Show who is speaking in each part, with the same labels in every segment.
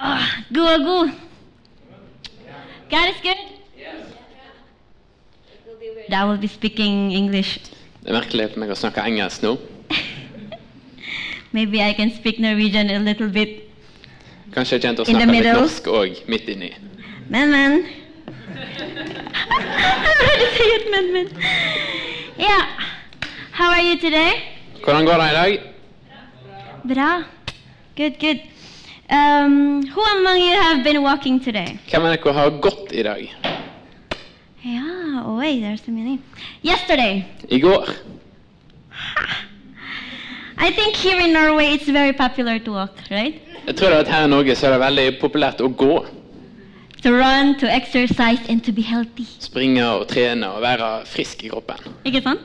Speaker 1: Ah, god og god. God is good. I will be speaking English.
Speaker 2: Det er merkelig for meg å snakke engelsk nå.
Speaker 1: Maybe I can speak Norwegian a little bit.
Speaker 2: Kanskje jeg kjente å
Speaker 1: In the
Speaker 2: snakke litt
Speaker 1: middle.
Speaker 2: norsk òg, midt inni.
Speaker 1: Men, men. I'm going to say it, men, men. Yeah. How are you today?
Speaker 2: Hvordan går det i dag?
Speaker 1: Bra. Good, good. Um, who among you have been walking today?
Speaker 2: Hvem av dere har gått i dag?
Speaker 1: Yeah, oh wait, there's so many. Yesterday.
Speaker 2: I går?
Speaker 1: I think here in Norway it's very popular to walk, right?
Speaker 2: Jeg tror det at her i Norge så er det veldig populært å gå.
Speaker 1: To run, to exercise, and to be healthy.
Speaker 2: Springe og trene og være frisk i kroppen.
Speaker 1: Ikke sant?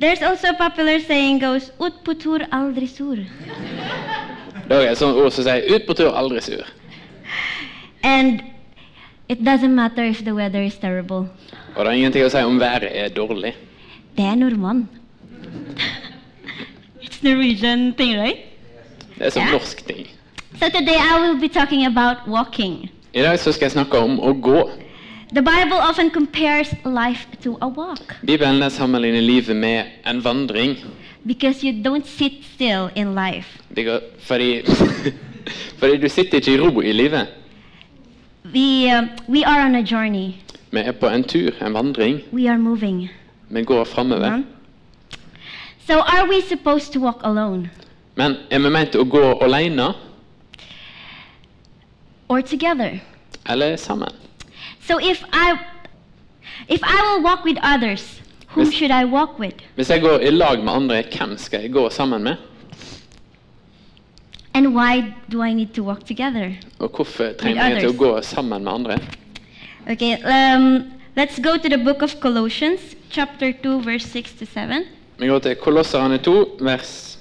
Speaker 1: There's also a popular saying goes, ut på tur aldri sur.
Speaker 2: Det er et sånt ord som sier 'ut på tur, aldri sur'.
Speaker 1: And it doesn't matter if the weather is terrible.
Speaker 2: Og det er ingenting å si om været er dårlig.
Speaker 1: Det er nordmann. it's Norwegian thing, right?
Speaker 2: Det er som
Speaker 1: Ja.
Speaker 2: norsk ting.
Speaker 1: So today I will be talking about walking.
Speaker 2: I dag så skal jeg snakke om å gå.
Speaker 1: The Bible often compares life to a walk
Speaker 2: Bibelen den sammenligner livet med en vandring.
Speaker 1: because you don't sit still in life.
Speaker 2: Det går, fordi, fordi du sitter ikke i ro i livet.
Speaker 1: We, um, we are on a journey.
Speaker 2: Vi er på en tur, en vandring.
Speaker 1: We are moving.
Speaker 2: Vi går framover.
Speaker 1: huh? So are we supposed to walk alone
Speaker 2: Men er vi ment å gå alene
Speaker 1: or together?
Speaker 2: eller sammen?
Speaker 1: So if I if I will walk with others, whom
Speaker 2: Yes.
Speaker 1: should I walk with?
Speaker 2: Hvis jeg går i lag med andre, hvem skal jeg gå sammen med?
Speaker 1: And why do I need to walk together?
Speaker 2: Og hvorfor
Speaker 1: With
Speaker 2: trenger jeg til å
Speaker 1: others.
Speaker 2: gå sammen med andre?
Speaker 1: Okay, um, let's go to the book of Colossians, chapter 2, verse 6 to 7.
Speaker 2: Vi går til Kolosserne 2, vers,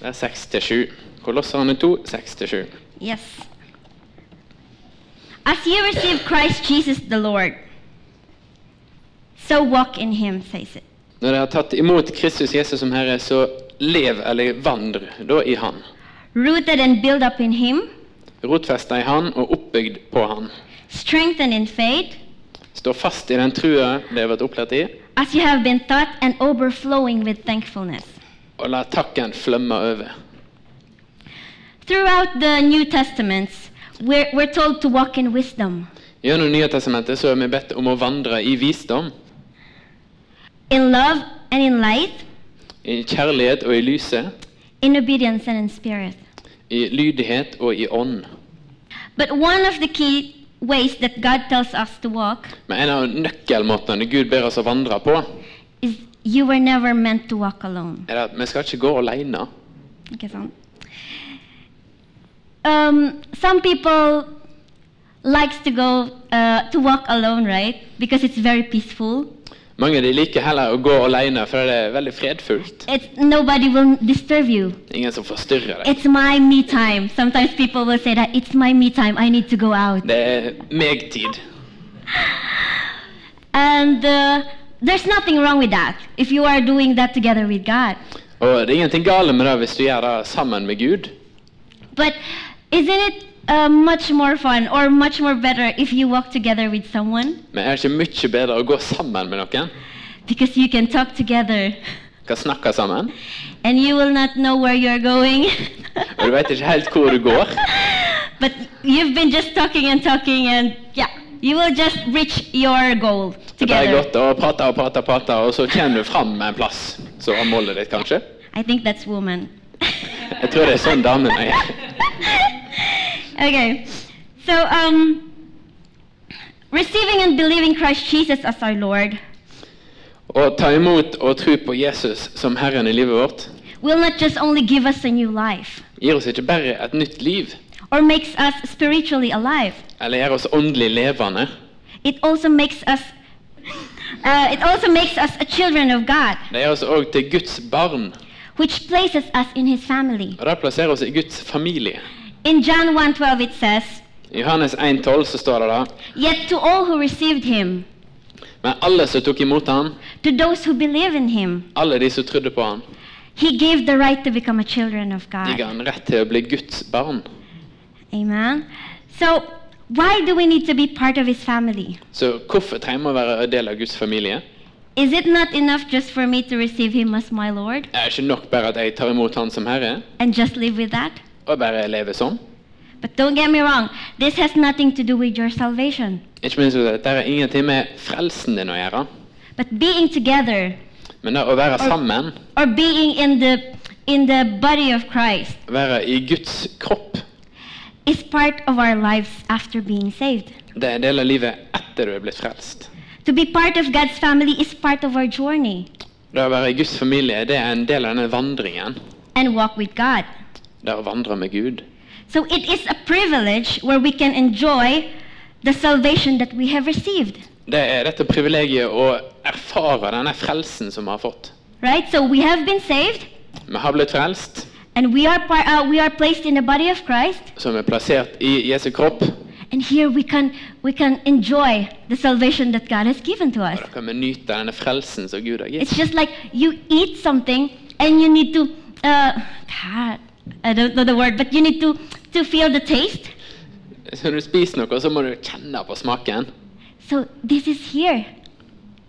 Speaker 2: vers 6-7. Kolosserne 2, 6-7.
Speaker 1: Yes. As you receive Christ Jesus the Lord, so walk in him, says it.
Speaker 2: Når dere har tatt imot Kristus Jesus som Herre, så lev eller vandr da i Han.
Speaker 1: Rooted and built up in him,
Speaker 2: Rotfesta i Han og oppbygd på Han.
Speaker 1: strengthened in faith,
Speaker 2: Stå fast i den trua det har vært opplært i,
Speaker 1: as you have been taught, and overflowing with thankfulness.
Speaker 2: og la takken flømme over.
Speaker 1: Throughout the New Testaments, we're, we're told to walk in wisdom,
Speaker 2: Gjennom Nye Testamentet så er vi bedt om å vandre i visdom,
Speaker 1: in love and in light,
Speaker 2: i kjærlighet og i lyset,
Speaker 1: in obedience and in spirit.
Speaker 2: i lydighet og i ånd.
Speaker 1: But one of the key ways that God tells us to walk
Speaker 2: Men en av nøkkelmåtene Gud ber oss å vandre på,
Speaker 1: is you were never meant to walk alone.
Speaker 2: er at vi skal ikke gå alene.
Speaker 1: Ikke sant? Um, some people likes to go uh, to walk alone, right? Because it's very peaceful.
Speaker 2: Mange de liker heller å gå alene, for det er veldig fredfullt.
Speaker 1: It's nobody will disturb you.
Speaker 2: Ingen som forstyrrer deg.
Speaker 1: It's my me time. Sometimes people will say that it's my me time. I need to go out.
Speaker 2: Det er meg-tid.
Speaker 1: And uh, there's nothing wrong with that if you are doing that together with God.
Speaker 2: Og det er ingenting gale med det hvis du gjør det sammen med Gud.
Speaker 1: But isn't it uh, much more fun or much more better if you walk together with someone?
Speaker 2: Men er det ikke mye bedre å gå sammen med noen?
Speaker 1: Because you can talk together
Speaker 2: Kan snakke sammen?
Speaker 1: and you will not know where you're going.
Speaker 2: Og du vet ikke helt hvor du går.
Speaker 1: but you've been just talking and talking and yeah, you will just reach your goal
Speaker 2: Det er
Speaker 1: together.
Speaker 2: godt å prate og prate og prate, og så kommer du fram med en plass. Så er målet ditt, kanskje.
Speaker 1: I think that's woman.
Speaker 2: Jeg tror det er sånn damene er.
Speaker 1: okay. So um receiving and believing Christ Jesus as our Lord
Speaker 2: Å ta imot og tro på Jesus som Herren i livet vårt
Speaker 1: will not just only give us a new life
Speaker 2: gir oss ikke bare et nytt liv,
Speaker 1: or makes us spiritually alive.
Speaker 2: eller gjør oss åndelig levende,
Speaker 1: It also makes us uh, it also makes us a children of God,
Speaker 2: det gjør oss òg til Guds barn.
Speaker 1: which places us in his family.
Speaker 2: Og det plasserer oss i Guds familie.
Speaker 1: In John 1:12 it says,
Speaker 2: I Johannes 1,12 så står det da
Speaker 1: "Yet to all who received him,
Speaker 2: Men alle som tok imot ham,
Speaker 1: to those who believe in him,
Speaker 2: alle de som trodde på ham,
Speaker 1: He gave the right to become a children of
Speaker 2: De
Speaker 1: God.
Speaker 2: ga han rett til å bli Guds barn.
Speaker 1: Amen. So, why do we need to be part of his family?
Speaker 2: Så hvorfor trenger vi å være en del av Guds familie?
Speaker 1: Is it not enough just for me to receive him as my Lord
Speaker 2: Er det ikke nok bare at jeg tar imot Han som Herre,
Speaker 1: and just live with that?
Speaker 2: og bare lever sånn?
Speaker 1: But don't get me wrong, this has nothing to do with your salvation.
Speaker 2: Ikke minst at dette har ingenting med frelsen din å gjøre,
Speaker 1: But being together
Speaker 2: men det å være sammen,
Speaker 1: or being in the in the body of Christ
Speaker 2: være i Guds kropp,
Speaker 1: is part of our lives after being saved.
Speaker 2: det er en del av livet etter du er blitt frelst.
Speaker 1: To be part of God's family is part of our journey
Speaker 2: Det å være i Guds familie, det er en del av denne vandringen.
Speaker 1: and walk with God.
Speaker 2: Det er å vandre med Gud.
Speaker 1: So it is a privilege where we can enjoy the salvation that we have received.
Speaker 2: Det er dette privilegiet å erfare denne frelsen som vi har fått.
Speaker 1: Right? So we have been saved
Speaker 2: Vi har blitt frelst,
Speaker 1: and we are par- uh, we are placed in the body of Christ
Speaker 2: som er plassert i Jesu kropp. Og
Speaker 1: and here we can we can enjoy the salvation that God has given to us.
Speaker 2: da kan vi nyte denne frelsen som Gud har gitt.
Speaker 1: It's just like you eat something and you need to uh God, I don't know the word, but you need to to feel the taste.
Speaker 2: Så når du spiser noe, så må du kjenne på smaken.
Speaker 1: So this is here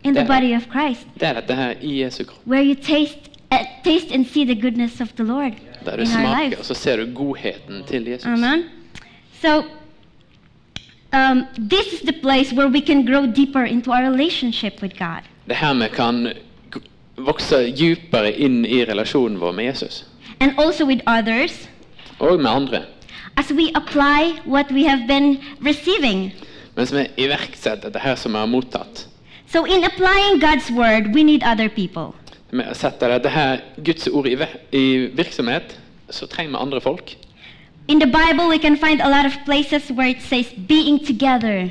Speaker 1: in the
Speaker 2: Yeah.
Speaker 1: body of Christ
Speaker 2: Det er dette her i Jesu kropp.
Speaker 1: where you taste uh, taste and see the goodness of the Lord
Speaker 2: Der du
Speaker 1: in our
Speaker 2: smaker, og
Speaker 1: lives.
Speaker 2: så ser du godheten til Jesus.
Speaker 1: Amen. So um, this is the place where we can grow deeper into our relationship with God.
Speaker 2: Det er her vi kan g- vokse dypere inn i relasjonen vår med Jesus.
Speaker 1: and also with others
Speaker 2: Og med andre.
Speaker 1: as we apply what we have been receiving.
Speaker 2: Mens vi iverksetter dette her som vi har mottatt.
Speaker 1: So, in applying God's word, we need other people.
Speaker 2: Vi setter dette her Guds ord i, ver i virksomhet, så trenger vi andre folk.
Speaker 1: In the Bible, we can find a lot of places where it says being together,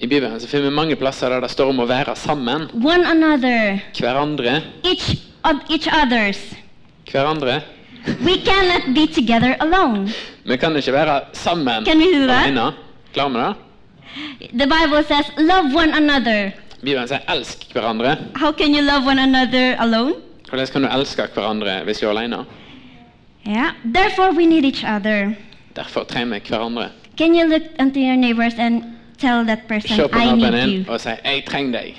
Speaker 2: I Bibelen så finner vi mange plasser der det står om å være sammen.
Speaker 1: one another,
Speaker 2: Hverandre.
Speaker 1: each of each others.
Speaker 2: Hverandre.
Speaker 1: We cannot be together alone.
Speaker 2: Vi kan ikke være sammen
Speaker 1: Can we do that?
Speaker 2: alene. Klarer vi det?
Speaker 1: The Bible says love one another.
Speaker 2: Bibelen sier 'elsk hverandre'.
Speaker 1: How can you love one another alone?
Speaker 2: Hvordan kan du elske hverandre hvis du er alene?
Speaker 1: Yeah. Therefore, we need each other.
Speaker 2: Derfor trenger vi hverandre.
Speaker 1: Can you look unto your neighbors and tell that person,
Speaker 2: Se på
Speaker 1: I need
Speaker 2: naboen
Speaker 1: you?
Speaker 2: din og si 'jeg trenger deg'.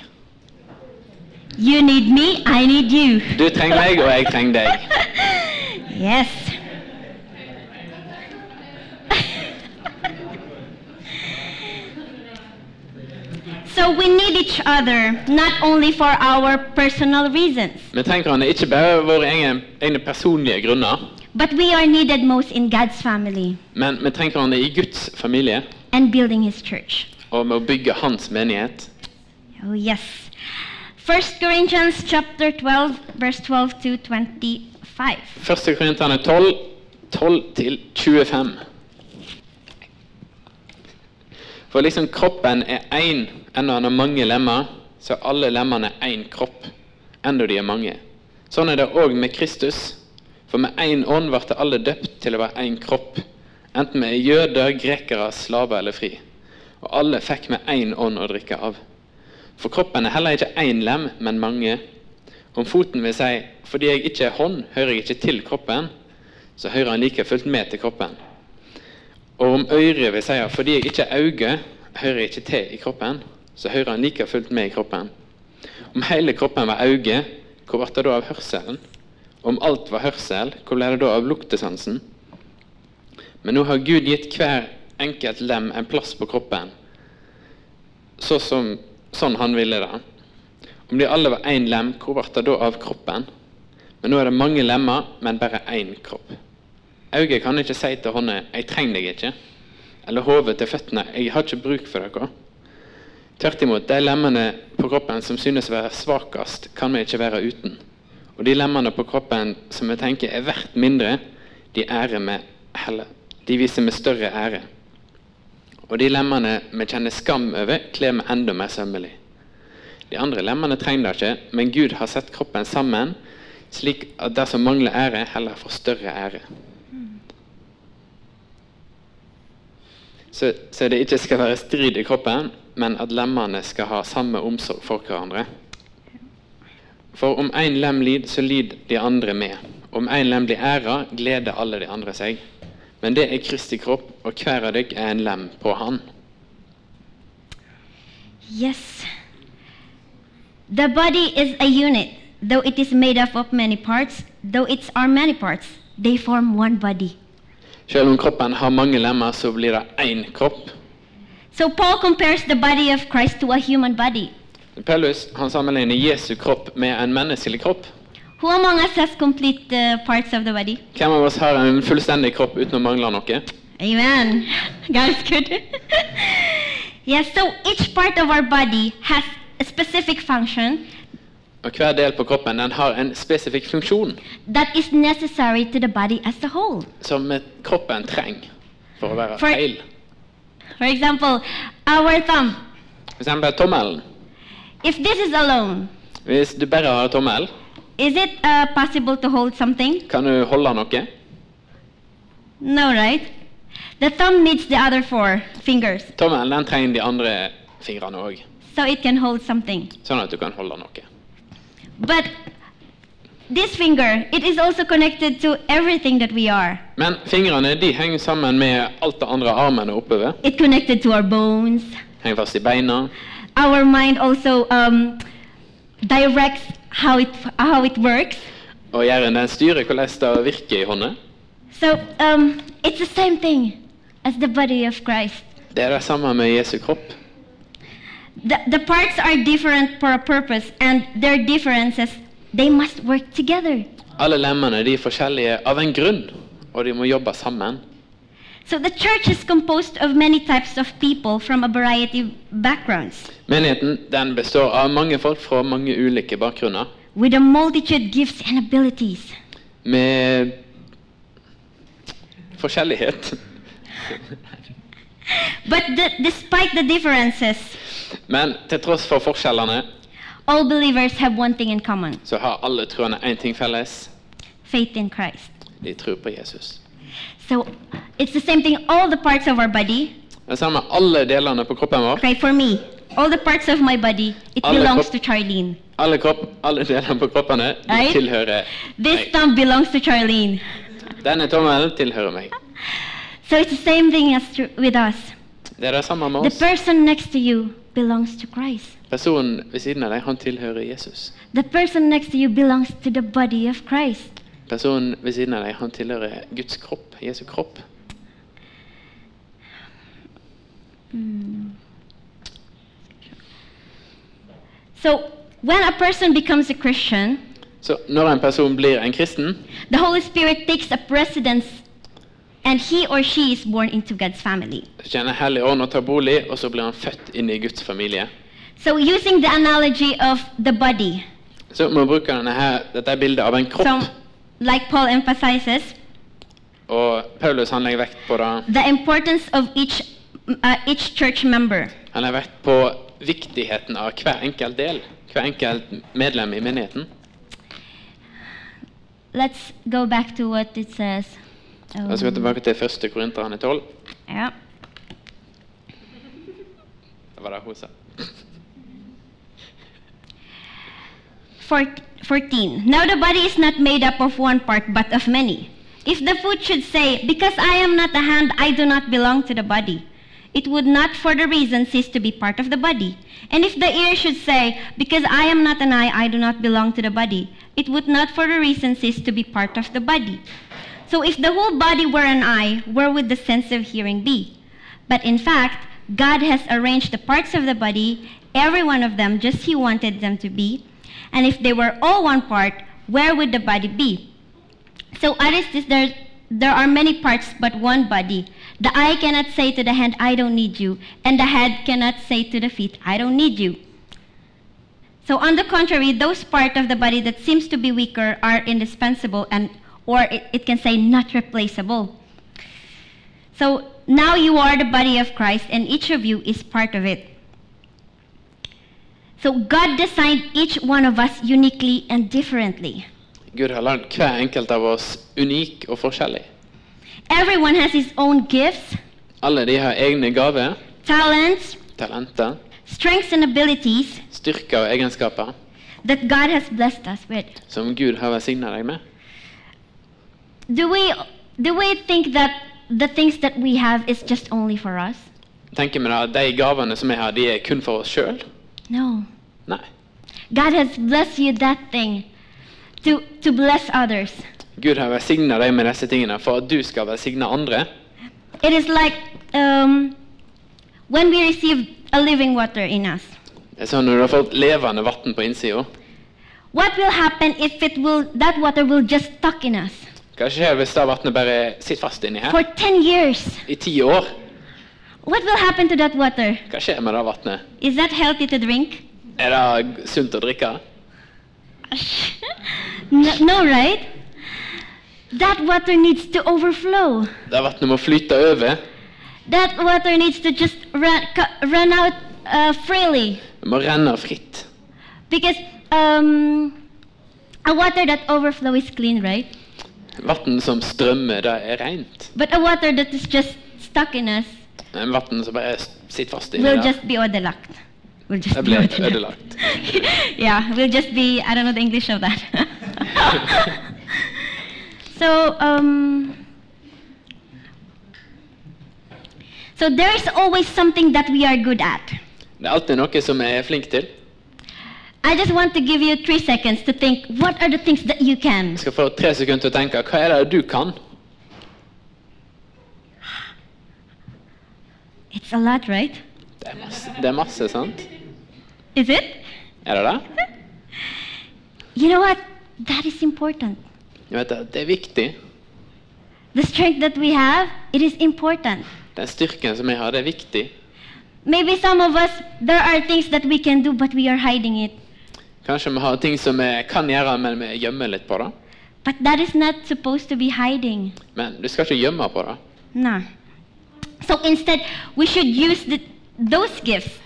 Speaker 1: You need me, I need you.
Speaker 2: Du trenger meg, og jeg trenger deg.
Speaker 1: Yes. so we need each other, not only for our personal reasons,
Speaker 2: Vi trenger hverandre ikke bare av våre egne, egne personlige grunner,
Speaker 1: but we are needed most in God's family
Speaker 2: men vi trenger hverandre i Guds familie
Speaker 1: and building His church.
Speaker 2: og med å bygge Hans menighet.
Speaker 1: Oh, yes. 1 Corinthians chapter 12, verse 12 to 25.
Speaker 2: 1. Korinterne 12, 12 til 25. For liksom kroppen er én, enda han har mange lemmer, så er alle lemmene én kropp, enda de er mange. Sånn er det òg med Kristus. For med én ånd ble alle døpt til å være én kropp, enten vi er jøder, grekere, slaver eller fri. Og alle fikk med én ånd å drikke av. For kroppen er heller ikke én lem, men mange. Om foten vil si fordi jeg ikke er hånd, hører jeg ikke til kroppen, så hører han like fullt med til kroppen. Og om øret vil si fordi jeg ikke er øye, hører jeg ikke til i kroppen, så hører han like fullt med i kroppen. Om hele kroppen var øye, hvor ble det da av hørselen? Om alt var hørsel, hvor ble det da av luktesansen? Men nå har Gud gitt hver enkelt lem en plass på kroppen, så som, sånn han ville det. Om de alle var én lem, hvor ble det da av kroppen? Men nå er det mange lemmer, men bare én kropp. Øyet kan ikke si til hånda 'jeg trenger deg ikke', eller hodet til føttene 'jeg har ikke bruk for dere'. Tvert imot, de lemmene på kroppen som synes å være svakest, kan vi ikke være uten. Og de lemmene på kroppen som vi tenker er verdt mindre, de ærer vi heller. De viser vi større ære. Og de lemmene vi kjenner skam over, kler vi enda mer sømmelig. De andre lemmene trenger det ikke, men Gud har sett kroppen sammen, slik at det som mangler ære, heller får større ære. Så, så det ikke skal være strid i kroppen, men at lemmene skal ha samme omsorg for hverandre. For om én lem lider, så lider de andre med. Om én lem blir æra, gleder alle de andre seg. Men det er Kristi kropp, og hver av dere er en lem på han.
Speaker 1: Yes. The body is a unit, though it is made up of many parts, though it's are many parts, they form one body.
Speaker 2: Selv om kroppen har mange lemmer, så blir det én kropp.
Speaker 1: So Paul compares the body of Christ to a human body.
Speaker 2: Paulus han sammenligner Jesu kropp med en menneskelig kropp.
Speaker 1: Who among us has complete the parts of the body?
Speaker 2: Hvem av oss har en fullstendig kropp uten å mangle noe?
Speaker 1: Amen. God is good. yes, so each part of our body has a specific function
Speaker 2: Og hver del på kroppen den har en spesifikk funksjon
Speaker 1: that is necessary to the body as a whole.
Speaker 2: som kroppen trenger for å være
Speaker 1: For-
Speaker 2: heil.
Speaker 1: For example, our thumb.
Speaker 2: For eksempel tommelen.
Speaker 1: If this is alone,
Speaker 2: Hvis du bare har tommel,
Speaker 1: is it uh, possible to hold something?
Speaker 2: kan du holde noe.
Speaker 1: No, right? The thumb needs the other four fingers,
Speaker 2: Tommelen den trenger de andre fingrene òg,
Speaker 1: so it can hold something.
Speaker 2: sånn at du kan holde noe.
Speaker 1: But this finger, it is also connected to everything that we are.
Speaker 2: Men fingrene de henger sammen med alt det andre armene oppover.
Speaker 1: It connected to our bones.
Speaker 2: Henger fast i beina.
Speaker 1: Our mind also um, directs how it how it works.
Speaker 2: Og gjør den styrer hvordan det virker i hånda.
Speaker 1: So um, it's the same thing as the body of Christ.
Speaker 2: Det er det samme med Jesu kropp.
Speaker 1: The, the parts are different for a purpose, and their differences they must work together.
Speaker 2: Alle lemmene de er forskjellige av en grunn, og de må jobbe sammen.
Speaker 1: So the church is composed of many types of people from a variety of backgrounds,
Speaker 2: Menigheten den består av mange folk fra mange ulike bakgrunner.
Speaker 1: with a multitude gifts and abilities.
Speaker 2: Med forskjellighet.
Speaker 1: But the, despite the differences,
Speaker 2: Men til tross for forskjellene
Speaker 1: all believers have one thing in common:
Speaker 2: så har alle troende én ting felles.
Speaker 1: faith in Christ.
Speaker 2: De tror på Jesus.
Speaker 1: So it's the same thing. All the parts of our body.
Speaker 2: Det samme med alle delene på kroppen vår.
Speaker 1: Okay, for me, all the parts of my body it
Speaker 2: Alle
Speaker 1: belongs
Speaker 2: kropp-
Speaker 1: to Charlene.
Speaker 2: Alle, kropp, alle delene på kroppene de
Speaker 1: Nei.
Speaker 2: tilhører
Speaker 1: This
Speaker 2: meg.
Speaker 1: thumb belongs to Charlene.
Speaker 2: Denne tommelen tilhører meg.
Speaker 1: So it's the same thing as tr- with us.
Speaker 2: Det er det samme med
Speaker 1: The
Speaker 2: oss.
Speaker 1: person next to you belongs to Christ.
Speaker 2: Personen ved siden av deg, han tilhører Jesus.
Speaker 1: The person next to you belongs to the body of Christ.
Speaker 2: Personen ved siden av deg, han tilhører Guds kropp, Jesu kropp.
Speaker 1: So when a person becomes a Christian,
Speaker 2: Så når en person blir en kristen,
Speaker 1: the Holy Spirit takes up residence and he or she is born into God's family.
Speaker 2: så kjenner Hellig Ånd og tar bolig, og så blir han født inn i Guds familie.
Speaker 1: So using the analogy of the body,
Speaker 2: Så må vi bruke denne her, dette bildet av en
Speaker 1: so
Speaker 2: kropp,
Speaker 1: like Paul emphasizes,
Speaker 2: og Paulus han legger vekt på det.
Speaker 1: the importance of each uh, each church member.
Speaker 2: Han legger vekt på viktigheten av hver enkelt del, hver enkelt medlem i menigheten.
Speaker 1: Let's go back to what it says. Um,
Speaker 2: Da skal vi tilbake til 1. Korinterne 12.
Speaker 1: Yeah.
Speaker 2: Det var det hun sa.
Speaker 1: Fourt- 14. Now the body is not made up of one part, but of many. If the foot should say, Because I am not a hand, I do not belong to the body, it would not for the reason cease to be part of the body. And if the ear should say, Because I am not an eye, I do not belong to the body, it would not for the reason cease to be part of the body. So if the whole body were an eye, where would the sense of hearing be? But in fact, God has arranged the parts of the body, every one of them just He wanted them to be. And if they were all one part, where would the body be? So as it is there, there are many parts but one body. The eye cannot say to the hand, I don't need you. And the head cannot say to the feet, I don't need you. So on the contrary, those part of the body that seems to be weaker are indispensable and or it, it can say not replaceable. So now you are the body of Christ, and each of you is part of it. So God designed each one of us uniquely and differently.
Speaker 2: Gud har lagd hver enkelt av oss unik og forskjellig.
Speaker 1: Everyone has his own gifts,
Speaker 2: Alle de har egne gaver,
Speaker 1: talents,
Speaker 2: talenter,
Speaker 1: strengths, and abilities
Speaker 2: styrker og egenskaper
Speaker 1: that God has blessed us with.
Speaker 2: som Gud har velsigna deg med.
Speaker 1: Do we do we think that the things that we have is just only for us?
Speaker 2: Tenker vi da at de gavene som vi har, de er kun for oss sjøl?
Speaker 1: No.
Speaker 2: Nei.
Speaker 1: God has blessed you that thing to to bless others.
Speaker 2: Gud har velsigna deg med disse tingene for at du skal velsigne andre.
Speaker 1: It is like um, when we receive a living water in us.
Speaker 2: Det er sånn når du har fått levende vann på innsida.
Speaker 1: What will happen if it will that water will just stuck in us
Speaker 2: Hva skjer hvis det vannet bare sitter fast inni her
Speaker 1: for 10 years?
Speaker 2: i ti år?
Speaker 1: What will happen to that water?
Speaker 2: Hva skjer med det vannet?
Speaker 1: Is that healthy to drink?
Speaker 2: Er det sunt å drikke?
Speaker 1: no, no, right? That water needs to overflow.
Speaker 2: Det vannet må flyte over.
Speaker 1: That water needs to just run, cu- run out uh, freely
Speaker 2: Det må renne fritt.
Speaker 1: because um, a water that overflow is clean, right?
Speaker 2: Vann som strømmer, det er rent.
Speaker 1: But a water that is just stuck in us
Speaker 2: Men vann som bare sitter fast inni
Speaker 1: will
Speaker 2: der,
Speaker 1: just be ødelagt. Will just
Speaker 2: det
Speaker 1: be
Speaker 2: blir
Speaker 1: ødelagt.
Speaker 2: ødelagt.
Speaker 1: yeah, we'll just be, I don't know the English of that. so, um, so there is always something that we are good at.
Speaker 2: Det er alltid noe som jeg er flink til.
Speaker 1: I just want to give you three seconds to think what are the things that you can?
Speaker 2: Jeg skal få tre sekunder til å tenke hva er det du kan?
Speaker 1: It's a lot, right?
Speaker 2: Det er masse, det er masse sant?
Speaker 1: Is it?
Speaker 2: Er det det?
Speaker 1: You know what? That is important.
Speaker 2: Jeg vet at det er viktig.
Speaker 1: The strength that we have, it is important.
Speaker 2: Den styrken som jeg har, det er viktig.
Speaker 1: Maybe some of us, there are things that we can do, but we are hiding it.
Speaker 2: Kanskje vi har ting som vi kan gjøre, men vi gjemmer litt på det.
Speaker 1: But that is not supposed to be hiding.
Speaker 2: Men du skal ikke gjemme på det.
Speaker 1: No. So instead, we should use the, those gifts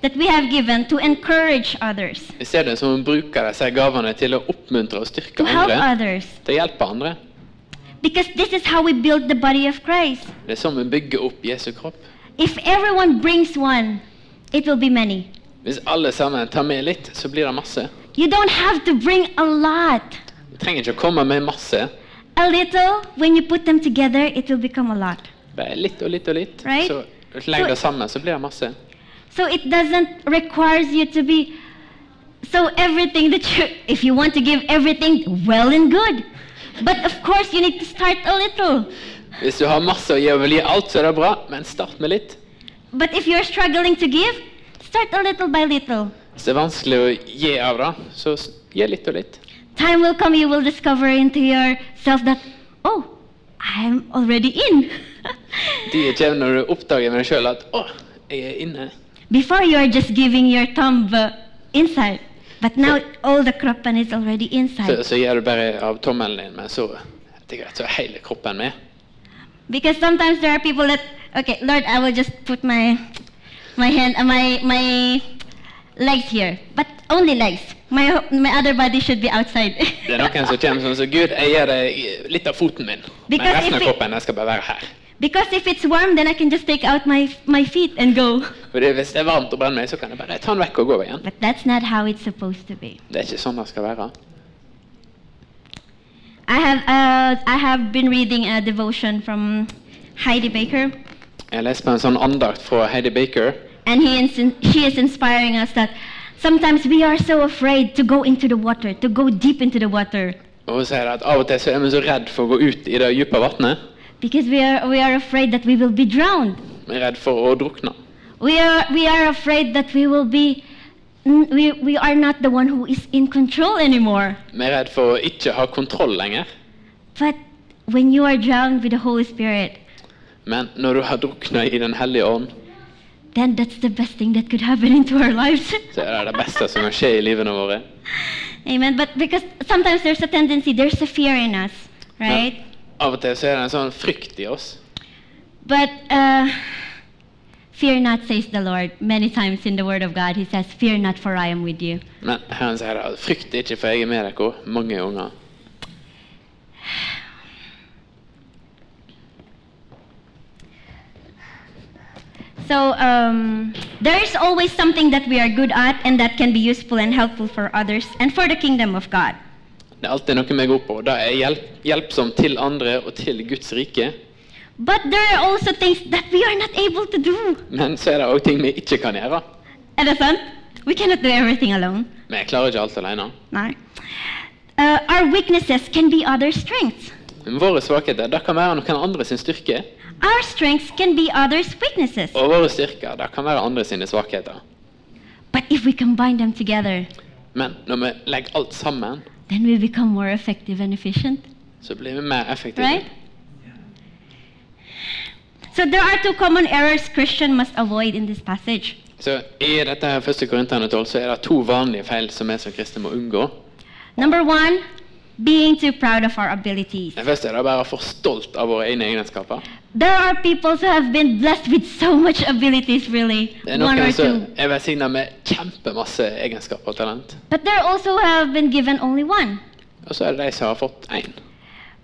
Speaker 1: that we have given to encourage others,
Speaker 2: I stedet så må vi bruke disse gavene til å oppmuntre og
Speaker 1: to
Speaker 2: styrke
Speaker 1: help
Speaker 2: andre.
Speaker 1: others.
Speaker 2: Til å hjelpe andre.
Speaker 1: Because this is how we build the body of Christ.
Speaker 2: Det er sånn vi bygger opp Jesu kropp.
Speaker 1: If everyone brings one, it will be many.
Speaker 2: Hvis alle sammen tar med litt, så blir det masse.
Speaker 1: You don't have to bring a lot.
Speaker 2: Du trenger ikke å komme med masse.
Speaker 1: A little, when you put them together, it will become a lot.
Speaker 2: Bare litt og litt og litt.
Speaker 1: Right?
Speaker 2: Så legg det sammen, så blir det masse.
Speaker 1: So it doesn't requires you to be so everything that you if you want to give everything well and good. But of course you need to start a little.
Speaker 2: Hvis du har masse å gi og vil gi alt, så er det bra, men start med litt.
Speaker 1: But if you're struggling to give, start a little by little.
Speaker 2: Hvis det er vanskelig å gi av det, så s- gi litt og litt.
Speaker 1: Time will come you will discover into yourself that oh, I'm already in.
Speaker 2: De kommer når du oppdager med deg sjøl at 'Å, jeg er inne'.
Speaker 1: Before you are just giving your thumb uh, inside. But now all the kroppen is already
Speaker 2: Så,
Speaker 1: inside.
Speaker 2: så gir du bare av tommelen din, men så det er greit, så er hele kroppen med.
Speaker 1: Because sometimes there are people that okay, Lord, I will just put my my hand uh, my my legs here, but only legs. My my other body should be outside.
Speaker 2: Det er noen som kommer sånn som 'Gud, jeg gir deg litt av foten min', men
Speaker 1: Because
Speaker 2: resten av
Speaker 1: if it-
Speaker 2: kroppen den skal bare være her.
Speaker 1: because if it's warm, then I can just take out my my feet and go.
Speaker 2: For det- Hvis det er varmt og brenner meg, så kan jeg bare ta den vekk og gå igjen.
Speaker 1: But that's not how it's supposed to be.
Speaker 2: Det er ikke sånn det skal være.
Speaker 1: I have uh, I have been reading a devotion from Heidi Baker,
Speaker 2: Jeg leste på en sånn andakt fra Heidi Baker.
Speaker 1: and he is she is inspiring us that sometimes we are so afraid to go into the water, to go deep into the water.
Speaker 2: Og Hun sier at av og til så er vi så redd for å gå ut i det dype vannet.
Speaker 1: Because we are, we are afraid that we will be drowned.
Speaker 2: Vi er redd for å drukne.
Speaker 1: We are, we are afraid that we will be, n- we, we are not the one who is in control anymore.
Speaker 2: Vi er redd for å ikke ha kontroll lenger.
Speaker 1: But when you are drowned with the Holy Spirit,
Speaker 2: Men når du har drukna i Den hellige ånd,
Speaker 1: then that's the best thing that could happen into our lives.
Speaker 2: så er det det beste som kan skje i livene våre.
Speaker 1: Amen. But because sometimes there's a tendency, there's a fear in us, right?
Speaker 2: Av og til så er det en sånn frykt i oss.
Speaker 1: But uh, fear not, says the Lord. Many times in the Word of God, He says, Fear not, for I am with you.
Speaker 2: Men Herren sier det, at frykt ikke, for jeg er med dere. Mange unger.
Speaker 1: So um, there is always something that we are good at and that can be useful and helpful for others and for the kingdom of God.
Speaker 2: Det er alltid noe jeg går på. Det er hjelp, hjelpsom til andre og til Guds rike.
Speaker 1: But there are also things that we are not able to do.
Speaker 2: Men så er det òg ting vi ikke kan gjøre.
Speaker 1: Er det sant? We cannot do everything alone.
Speaker 2: Vi klarer ikke alt alene.
Speaker 1: Nei. Uh, our weaknesses can be other strengths.
Speaker 2: Men våre svakheter det kan være noen andre sin styrke.
Speaker 1: Our strengths can be others' weaknesses.
Speaker 2: Og våre styrker det kan være andre sine svakheter.
Speaker 1: But if we combine them together,
Speaker 2: Men når vi legger alt sammen,
Speaker 1: then we become more effective and efficient,
Speaker 2: så blir vi mer effektive.
Speaker 1: right? So there are two common errors Christian must avoid in this passage.
Speaker 2: Så I dette her første Korinterne 12 så er det to vanlige feil som vi som kristne må unngå.
Speaker 1: Number one, being too proud of our abilities.
Speaker 2: Den første er det å være for stolt av våre egne egenskaper.
Speaker 1: There are people who have been blessed with so much abilities, really,
Speaker 2: Det er
Speaker 1: one or
Speaker 2: noen som
Speaker 1: two.
Speaker 2: er velsigna med kjempemasse egenskaper og talent.
Speaker 1: But there also have been given only one.
Speaker 2: Og så er det de som har fått én.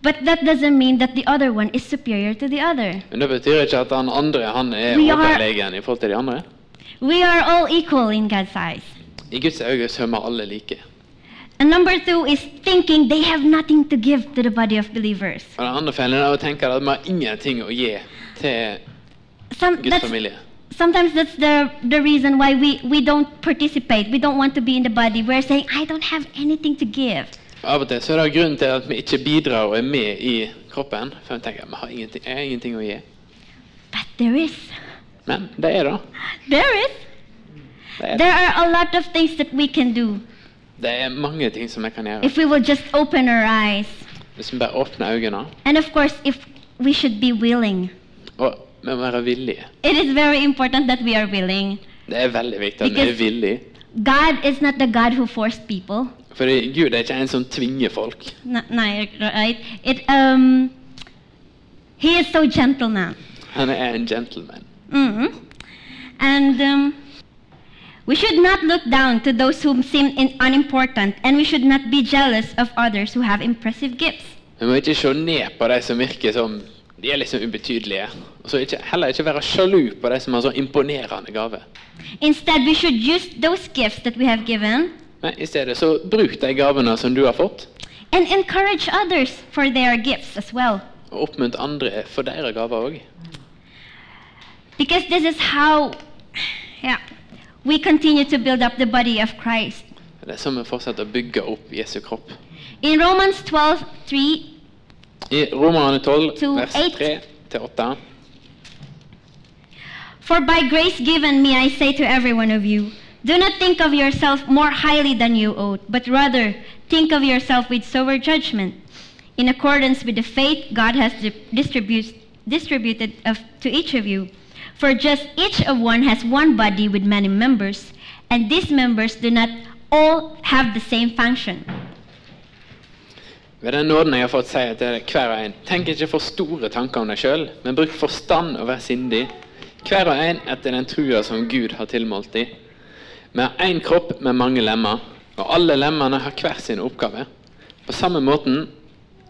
Speaker 1: But that doesn't mean that the other one is superior to the other.
Speaker 2: Men det betyr ikke at han andre han er
Speaker 1: Vi har-
Speaker 2: overlegen i forhold til de andre.
Speaker 1: We are all equal in God's eyes.
Speaker 2: I Guds øyne så er vi alle like.
Speaker 1: And number two is thinking they have nothing to give to the body of believers.
Speaker 2: Og den andre fellen er å tenke at vi har ingenting å gi til
Speaker 1: Some,
Speaker 2: Guds
Speaker 1: that's,
Speaker 2: familie.
Speaker 1: sometimes that's the, the reason why we, we don't participate. We don't want to be in the body. We're saying, I don't have anything to give.
Speaker 2: Og Av og til så er det grunnen til at vi ikke bidrar og er med i kroppen. For vi tenker at vi har ingenting, jeg har ingenting å gi.
Speaker 1: But there is.
Speaker 2: Men det er det.
Speaker 1: There is.
Speaker 2: Det er, det.
Speaker 1: There are a lot of things that we can do
Speaker 2: det er mange ting som vi kan gjøre.
Speaker 1: if we will just open our eyes.
Speaker 2: Hvis vi bare åpner øynene,
Speaker 1: And of course, if we should be willing.
Speaker 2: og vi må være villige.
Speaker 1: It is very important that we are willing.
Speaker 2: Det er veldig viktig at vi er
Speaker 1: Because-
Speaker 2: villige.
Speaker 1: God is not the God who forced people.
Speaker 2: Fordi Gud er ikke en som tvinger folk.
Speaker 1: No, no, right? It um, he is so gentle now.
Speaker 2: Han er en gentleman.
Speaker 1: hmm And um, we should not look down to those who seem in, unimportant, and we should not be jealous of others who have impressive gifts.
Speaker 2: Vi må ikke se ned på de som virker som de er liksom ubetydelige. Og så ikke, heller ikke være sjalu på de som har så imponerende gave.
Speaker 1: Instead, we should use those gifts that we have given
Speaker 2: Men i stedet så bruk de gavene som du har fått,
Speaker 1: and encourage others for their gifts as well,
Speaker 2: og oppmunt andre for deres gaver òg.
Speaker 1: because this is how, yeah, we continue to build up the body of Christ.
Speaker 2: Det er sånn vi fortsetter å bygge opp Jesu kropp.
Speaker 1: In Romans 12:3.
Speaker 2: I Romerne 12,
Speaker 1: To
Speaker 2: vers
Speaker 1: eight.
Speaker 2: 3 til 8.
Speaker 1: For by grace given me, I say to every one of you, do not think of yourself more highly than you ought, but rather think of yourself with sober judgment, in accordance with the faith God has di- distributes- distributed of, to each of you. For just each of one has one body with many members, and these members do not all have the same function.
Speaker 2: Ved den nåden jeg har fått, sier jeg til hver og en, tenk ikke for store tanker om deg sjøl, men bruk forstand og vær sindig, hver og en etter den trua som Gud har tilmålt deg. Vi har én kropp med mange lemmer, og alle lemmene har hver sin oppgave. På samme måten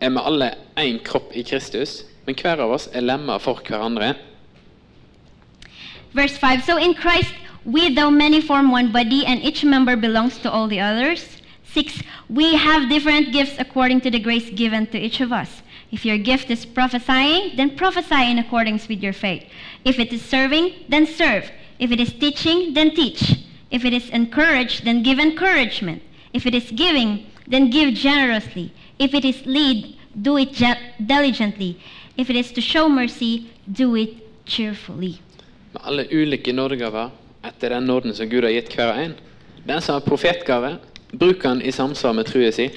Speaker 2: er vi alle én kropp i Kristus, men hver av oss er lemmer for hverandre.
Speaker 1: Verse 5 So in Christ, we, though many, form one body, and each member belongs to all the others. 6. We have different gifts according to the grace given to each of us. If your gift is prophesying, then prophesy in accordance with your faith. If it is serving, then serve. If it is teaching, then teach. If it is encourage, then give encouragement. If it is giving, then give generously. If it is lead, do it ge- diligently. If it is to show mercy, do it cheerfully.
Speaker 2: med alle ulike nådegaver etter den nåden som Gud har gitt hver og en. Den som har profetgave, bruk han i samsvar med trua si.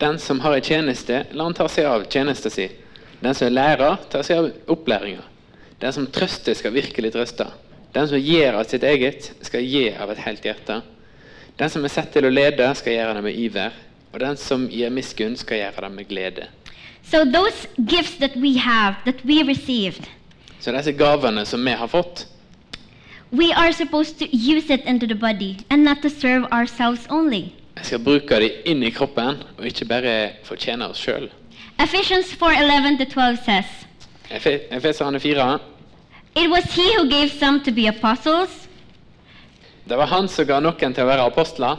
Speaker 2: Den som har en tjeneste, la han ta seg av tjenesta si. Den som er lærer, tar seg av opplæringa. Den som trøster, skal virkelig trøste. Den som gir av sitt eget, skal gi av et helt hjerte. Den som er satt til å lede, skal gjøre det med iver. Og den som gir miskunn, skal gjøre det med glede.
Speaker 1: So those gifts that we have, that we received,
Speaker 2: Så disse gavene som vi har fått,
Speaker 1: we are supposed to use it into the body and not to serve ourselves only.
Speaker 2: Jeg skal bruke dem inn i kroppen, og ikke bare fortjene oss sjøl.
Speaker 1: Ephesians 4:11 to 12 says,
Speaker 2: Efeserne 4.
Speaker 1: "It was he who gave some to be apostles,
Speaker 2: Det var han som ga noen til å være apostler,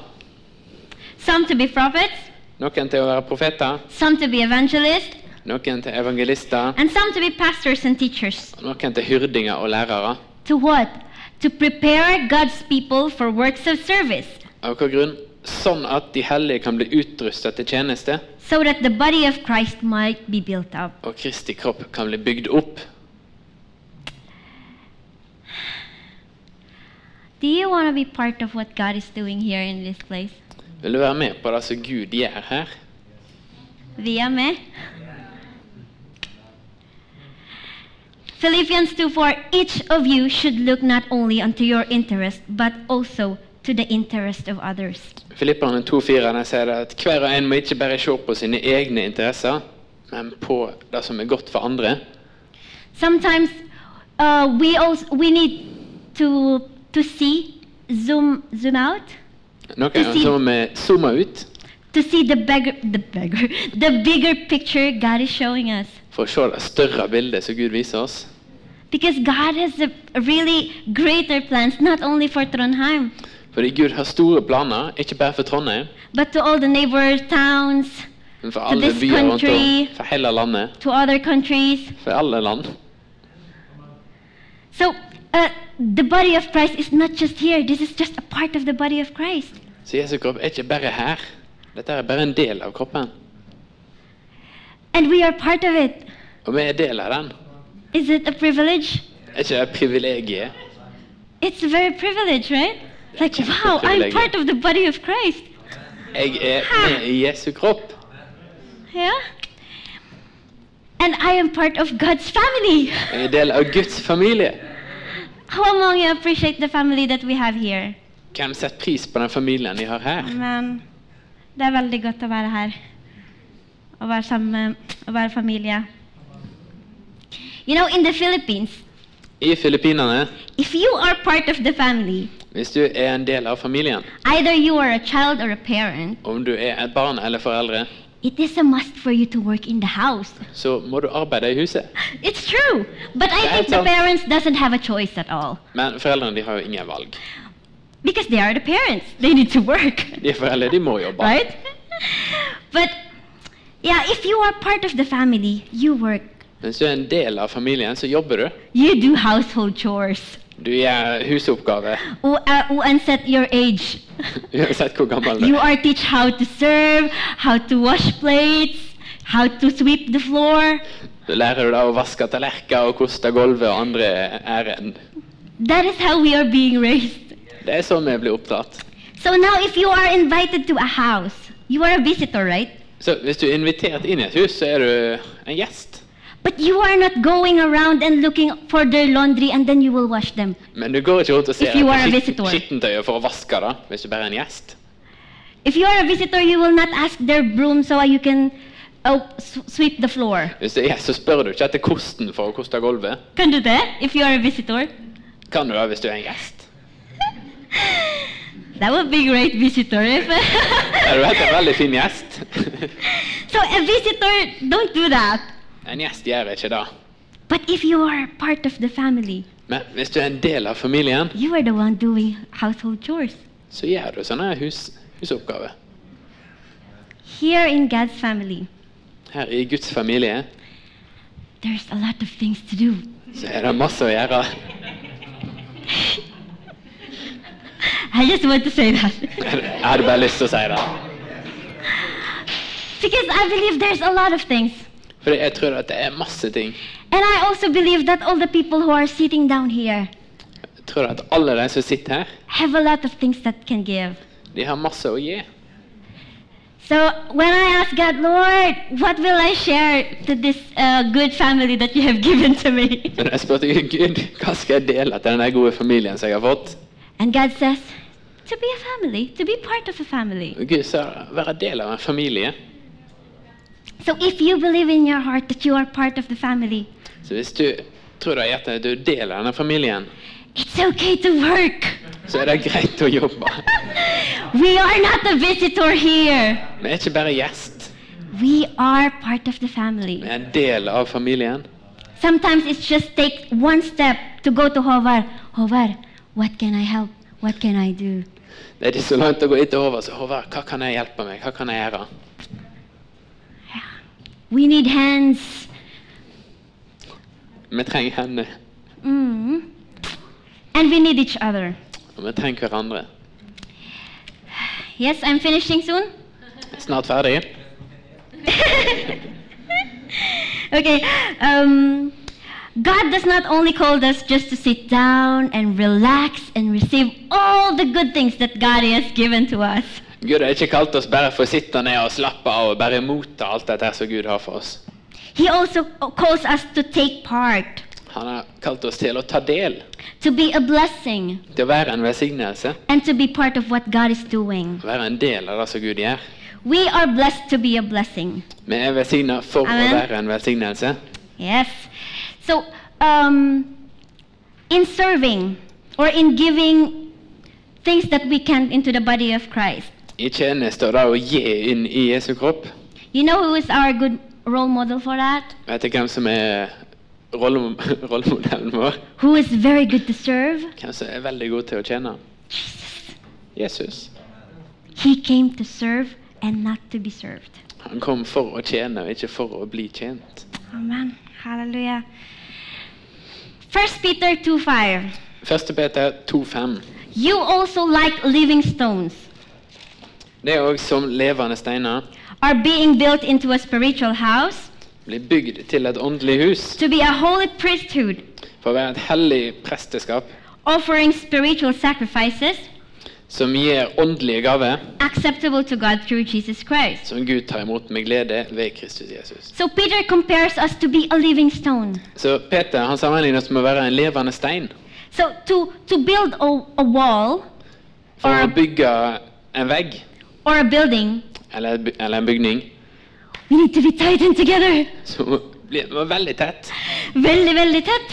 Speaker 1: some to be prophets,
Speaker 2: Noen til å være profeter,
Speaker 1: some to be evangelists,
Speaker 2: noen til evangelister,
Speaker 1: and some to be pastors and teachers.
Speaker 2: og noen til hyrdinger og lærere.
Speaker 1: To what? To prepare God's people for works of service,
Speaker 2: Av hvilken grunn? Sånn at de hellige kan bli utrustet til tjeneste,
Speaker 1: so that the body of Christ might be built up.
Speaker 2: og Kristi kropp kan bli bygd opp.
Speaker 1: Do you want to be part of what God is doing here in this place?
Speaker 2: Vil du være med på det som Gud gjør her?
Speaker 1: Via me? Philippians 2 4 Each of you should look not only unto your interest, but also to the interest of others.
Speaker 2: Filipperne 2,4 der sier det at hver og en må ikke bare se på sine egne interesser, men på det som er godt for andre.
Speaker 1: Sometimes uh, we also we need to to see zoom zoom out
Speaker 2: Noen ganger så må vi zoome ut
Speaker 1: to see the bigger the bigger the bigger picture God is showing us
Speaker 2: for å se det større bildet som Gud viser oss.
Speaker 1: because God has a really greater plans not only for Trondheim
Speaker 2: Fordi Gud har store planer, ikke bare for Trondheim,
Speaker 1: but to all the neighbor towns
Speaker 2: men for
Speaker 1: To
Speaker 2: alle
Speaker 1: this
Speaker 2: byer rundt om,
Speaker 1: country.
Speaker 2: for hele landet,
Speaker 1: to other countries.
Speaker 2: for alle land.
Speaker 1: So uh, the body of Christ is not just here. This is just a part of the body of Christ.
Speaker 2: Så Jesu kropp er ikke bare her. Dette er bare en del av kroppen,
Speaker 1: And we are part of it.
Speaker 2: og vi er del av den.
Speaker 1: Is it a privilege?
Speaker 2: Er ikke det privilegiet?
Speaker 1: It's very privilege, right? Like,
Speaker 2: It's a
Speaker 1: wow, I'm
Speaker 2: privilege.
Speaker 1: part of the body of Christ.
Speaker 2: Jeg er med i Jesu kropp,
Speaker 1: Yeah? And I am part of God's family.
Speaker 2: jeg er del av Guds familie.
Speaker 1: How among you appreciate the family that we have here?
Speaker 2: Hvem setter pris på den familien de har her?
Speaker 1: Men det er veldig godt å være her. Å være sammen, å være familie. You know, in the Philippines,
Speaker 2: I Filippinene,
Speaker 1: if you are part of the family,
Speaker 2: hvis du er en del av familien,
Speaker 1: either you are a child or a parent,
Speaker 2: om du er et barn eller foreldre,
Speaker 1: it is a must for you to work in the house.
Speaker 2: så må du arbeide i huset.
Speaker 1: It's true, but I
Speaker 2: Yeah,
Speaker 1: think
Speaker 2: it
Speaker 1: the
Speaker 2: sounds-
Speaker 1: parents doesn't have a choice at all
Speaker 2: Men foreldrene de har jo ingen valg.
Speaker 1: because they are the parents. They need to work,
Speaker 2: De er foreldre, de må jobbe.
Speaker 1: right? but yeah, if you are part of the family, you work.
Speaker 2: Mens du er en del av familien, så jobber du.
Speaker 1: You do household chores.
Speaker 2: Du gjør husoppgaver,
Speaker 1: U- uh, Uansett your age,
Speaker 2: uansett hvor gammel du
Speaker 1: you
Speaker 2: er.
Speaker 1: are teach how to serve, how to wash plates, how to sweep the floor.
Speaker 2: Du lærer du deg å vaske tallerkener og koste gulvet og andre ærend.
Speaker 1: That is how we are being raised.
Speaker 2: Det er sånn vi blir oppdratt.
Speaker 1: So now, if you are invited to a house, you are a visitor, right?
Speaker 2: Så hvis du er invitert inn i et hus, så er du en gjest.
Speaker 1: But you are not going around and looking for their laundry and then you will wash them.
Speaker 2: Men du går ikke rundt og ser
Speaker 1: If you are a
Speaker 2: på skitten-
Speaker 1: visitor.
Speaker 2: skittentøyet for å vaske det, hvis du bare er en gjest.
Speaker 1: If you are a visitor, you will not ask their broom so you can uh, s- sweep the floor.
Speaker 2: Hvis det er, så spør du ikke etter kosten for å koste gulvet.
Speaker 1: Can do that if you are a visitor.
Speaker 2: Kan du det hvis du er en gjest?
Speaker 1: That would be great visitor. eh? If
Speaker 2: Er du vet, en veldig fin gjest?
Speaker 1: so a visitor don't do that.
Speaker 2: en gjest gjør ikke det.
Speaker 1: But if you are part of the family,
Speaker 2: Men hvis du er en del av familien,
Speaker 1: you are the one doing household chores.
Speaker 2: så gjør du sånne hus, husoppgaver.
Speaker 1: Here in God's family,
Speaker 2: Her i Guds familie
Speaker 1: there's a lot of things to do.
Speaker 2: så er det masse å gjøre.
Speaker 1: I just want to say that.
Speaker 2: Jeg hadde bare lyst til å si det.
Speaker 1: because I believe there's a lot of things.
Speaker 2: For jeg tror at det er masse ting.
Speaker 1: And I also believe that all the people who are sitting down here
Speaker 2: Jeg tror at alle de som sitter her,
Speaker 1: have a lot of things that can give.
Speaker 2: de har masse å gi.
Speaker 1: So when I ask God, Lord, what will I share to this uh, good family that you have given to me?
Speaker 2: Men jeg spurte Gud, Gud, hva skal jeg dele til denne gode familien som jeg har fått?
Speaker 1: And God says, to be a family, to be part of a family.
Speaker 2: Og Gud sa være del av en familie.
Speaker 1: So if you believe in your heart that you are part of the family,
Speaker 2: Så hvis du tror du har hjertet at du er del av denne familien,
Speaker 1: it's okay to work.
Speaker 2: så er det greit å jobbe.
Speaker 1: we are not a visitor here.
Speaker 2: Vi er ikke bare gjest,
Speaker 1: We are part of the
Speaker 2: vi
Speaker 1: family.
Speaker 2: er en del av familien.
Speaker 1: Sometimes it's just take one step to go to Hovar. Hovar, what can I help? What can I do?
Speaker 2: Det er ikke så langt å gå etter over, så Håvard, hva kan jeg hjelpe meg? Hva kan jeg gjøre?
Speaker 1: We need hands.
Speaker 2: Vi trenger hendene,
Speaker 1: Mm. And we need each other.
Speaker 2: og vi trenger hverandre.
Speaker 1: Yes, I'm finishing soon.
Speaker 2: Snart ferdig.
Speaker 1: okay. Um, God does not only call us just to sit down and relax and receive all the good things that God has given to us.
Speaker 2: Gud har ikke kalt oss bare for å sitte ned og slappe av og bare motta alt dette her som Gud har for oss.
Speaker 1: He also calls us to take part,
Speaker 2: Han har kalt oss til å ta del,
Speaker 1: to be a blessing,
Speaker 2: til å være en velsignelse,
Speaker 1: and to be part of what God is doing.
Speaker 2: være en del av det som Gud gjør.
Speaker 1: We are blessed to be a blessing.
Speaker 2: Vi er velsigna for
Speaker 1: Amen.
Speaker 2: å være en velsignelse.
Speaker 1: Yes. So, um, in serving or in giving things that we can into the body of Christ,
Speaker 2: I tjeneste og det å gi inn i Jesu kropp.
Speaker 1: you know who is our good role model for that?
Speaker 2: Vet du hvem som er rolle, rollemodellen vår?
Speaker 1: Who is very good to serve?
Speaker 2: Hvem som er veldig god til å tjene?
Speaker 1: Jesus.
Speaker 2: Jesus.
Speaker 1: He came to serve and not to be served.
Speaker 2: Han kom for å tjene, og ikke for å bli tjent.
Speaker 1: Amen. Hallelujah. 1 Peter 2 5.
Speaker 2: 1. Peter 2,5.
Speaker 1: You also, like living stones,
Speaker 2: Det er òg som levende steiner
Speaker 1: are being built into a spiritual house
Speaker 2: blir bygd til et åndelig hus
Speaker 1: to be a holy priesthood
Speaker 2: for å være et hellig presteskap
Speaker 1: offering spiritual sacrifices
Speaker 2: som gir åndelige gaver
Speaker 1: acceptable to God through Jesus Christ.
Speaker 2: som Gud tar imot med glede ved Kristus Jesus.
Speaker 1: So Peter compares us to be a living stone.
Speaker 2: Så Peter han sammenligner oss med å være en levende stein
Speaker 1: So to, to build a, a wall
Speaker 2: for å bygge en vegg
Speaker 1: or a building,
Speaker 2: eller, et by- eller en bygning
Speaker 1: we need to be tightened together.
Speaker 2: som blir var veldig tett.
Speaker 1: Veldig, veldig tett.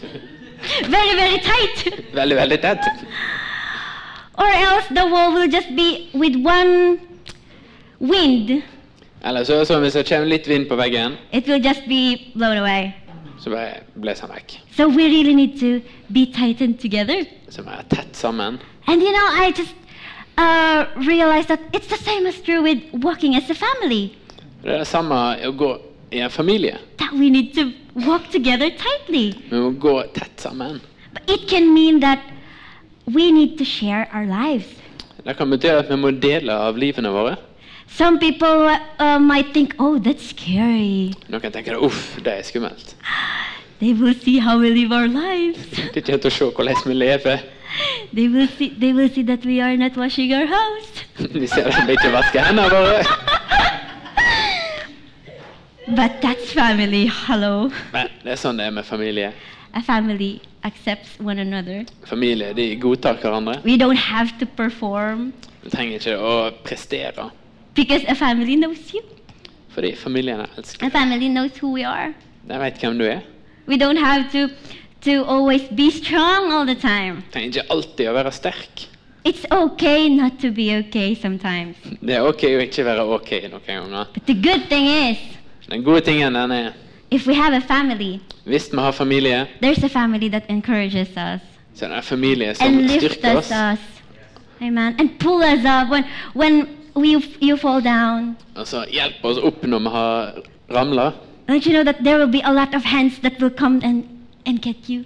Speaker 1: very, very tight.
Speaker 2: Veldig, veldig tett.
Speaker 1: Or else the wall will just be with one wind.
Speaker 2: Eller så, så hvis det kommer litt vind på veggen,
Speaker 1: It will just be blown away.
Speaker 2: så bare blåser han vekk.
Speaker 1: So we really need to be tightened together.
Speaker 2: Så vi er tett sammen.
Speaker 1: And you know, I just uh, realized that it's the same as true with walking as a family,
Speaker 2: Det er det samme å gå i en familie.
Speaker 1: that we need to walk together tightly.
Speaker 2: Vi må gå tett sammen.
Speaker 1: But it can mean that we need to share our lives.
Speaker 2: Det kan bety at vi må dele av livene våre.
Speaker 1: Some people uh, uh, might think, oh, that's scary.
Speaker 2: Noen tenker uff, det er skummelt.
Speaker 1: They will see how we live our lives.
Speaker 2: De kommer til å se hvordan vi lever.
Speaker 1: they will see they will see that we are not washing our house.
Speaker 2: De ser at vi ikke vasker hendene våre.
Speaker 1: But that's family, hello.
Speaker 2: Men det er sånn det er med familie.
Speaker 1: A family accepts one another.
Speaker 2: Familie de godtar hverandre.
Speaker 1: We don't have to perform
Speaker 2: Vi trenger ikke å prestere,
Speaker 1: because a family knows you.
Speaker 2: fordi familiene elsker
Speaker 1: A family knows who we are.
Speaker 2: De vet hvem du er.
Speaker 1: We don't have to to always be strong all the time.
Speaker 2: trenger ikke alltid å være sterk.
Speaker 1: It's okay not to be okay sometimes.
Speaker 2: Det er ok å ikke være ok noen ganger.
Speaker 1: But the good thing is,
Speaker 2: Den gode tingen den er
Speaker 1: if we have a family,
Speaker 2: hvis vi har familie,
Speaker 1: there's a family that encourages us
Speaker 2: så er det en familie som
Speaker 1: and lifts
Speaker 2: styrker
Speaker 1: us
Speaker 2: oss,
Speaker 1: us. Amen. And pull us up when when we you fall down.
Speaker 2: og så hjelper Altså, oss opp når vi har ramla.
Speaker 1: Don't you know that there will be a lot of hands that will come and and get you?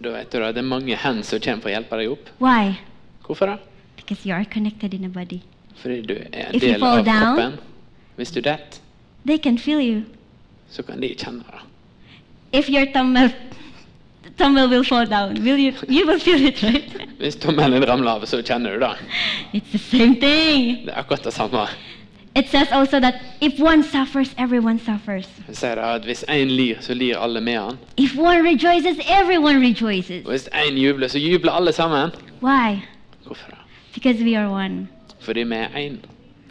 Speaker 2: Da vet du da, det er mange hender som kommer for å hjelpe deg opp.
Speaker 1: Why?
Speaker 2: Hvorfor det?
Speaker 1: Because you are connected in a body.
Speaker 2: Fordi du er en
Speaker 1: If you
Speaker 2: del
Speaker 1: fall
Speaker 2: av
Speaker 1: down-
Speaker 2: kroppen. Hvis du detter,
Speaker 1: They can feel you.
Speaker 2: så kan de kjenne det.
Speaker 1: if your tumble tumble will fall down will you you will feel it right
Speaker 2: Hvis tommelen din ramler av, så kjenner du det.
Speaker 1: it's the same thing
Speaker 2: Det er akkurat det samme.
Speaker 1: it says also that if one suffers everyone suffers
Speaker 2: Jeg sier det at Hvis én lir, så lir alle med han.
Speaker 1: if one rejoices everyone rejoices
Speaker 2: Og hvis én jubler, så jubler alle sammen.
Speaker 1: why
Speaker 2: Hvorfor det?
Speaker 1: because we are one
Speaker 2: Fordi vi er én.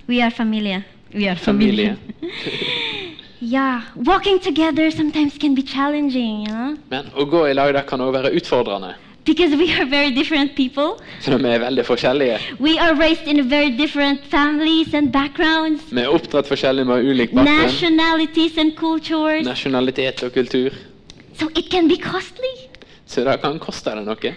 Speaker 1: we are familia we are
Speaker 2: Familia.
Speaker 1: yeah walking together sometimes can be challenging you know
Speaker 2: Men å gå i lag det kan òg være utfordrende.
Speaker 1: because we are very different people
Speaker 2: For vi er veldig forskjellige.
Speaker 1: we are raised in very different families and backgrounds
Speaker 2: Vi er oppdratt forskjellig med ulik bakgrunn,
Speaker 1: nationalities and cultures
Speaker 2: nasjonalitet og kultur.
Speaker 1: So it can be costly
Speaker 2: Så det kan koste deg noe.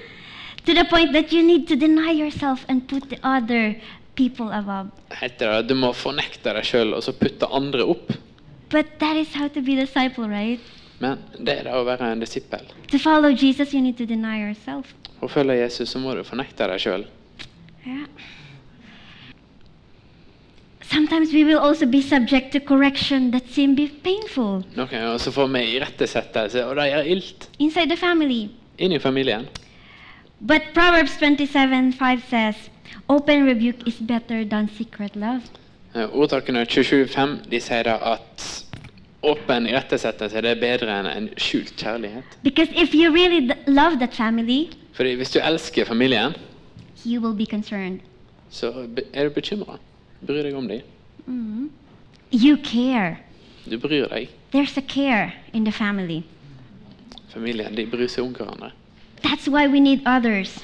Speaker 1: to the point that you need to deny yourself and put the other people above.
Speaker 2: Heter det at du må fornekte deg sjøl og så putte andre opp.
Speaker 1: But that is how to be a disciple, right?
Speaker 2: Men det er det å være en disippel.
Speaker 1: To follow Jesus, you need to deny yourself.
Speaker 2: For å følge Jesus så må du fornekte deg sjøl.
Speaker 1: Yeah. Sometimes we will also be subject to correction that seem be painful
Speaker 2: Noen ganger så får vi irettesettelse, og det gjør ilt
Speaker 1: inside the family.
Speaker 2: inn i familien.
Speaker 1: But Proverbs 27 5 says, Open rebuke is better than secret love.
Speaker 2: Eh, Ordtakene 27.5 de sier da at åpen irettesettelse det er bedre enn en skjult kjærlighet.
Speaker 1: Because if you really d- love that family,
Speaker 2: Fordi hvis du elsker familien,
Speaker 1: you will be concerned.
Speaker 2: så be- er du bekymra. Bryr deg om dem.
Speaker 1: Mhm. You care.
Speaker 2: Du bryr deg.
Speaker 1: There's a care in the family.
Speaker 2: Familien de bryr seg om hverandre.
Speaker 1: That's why we need others.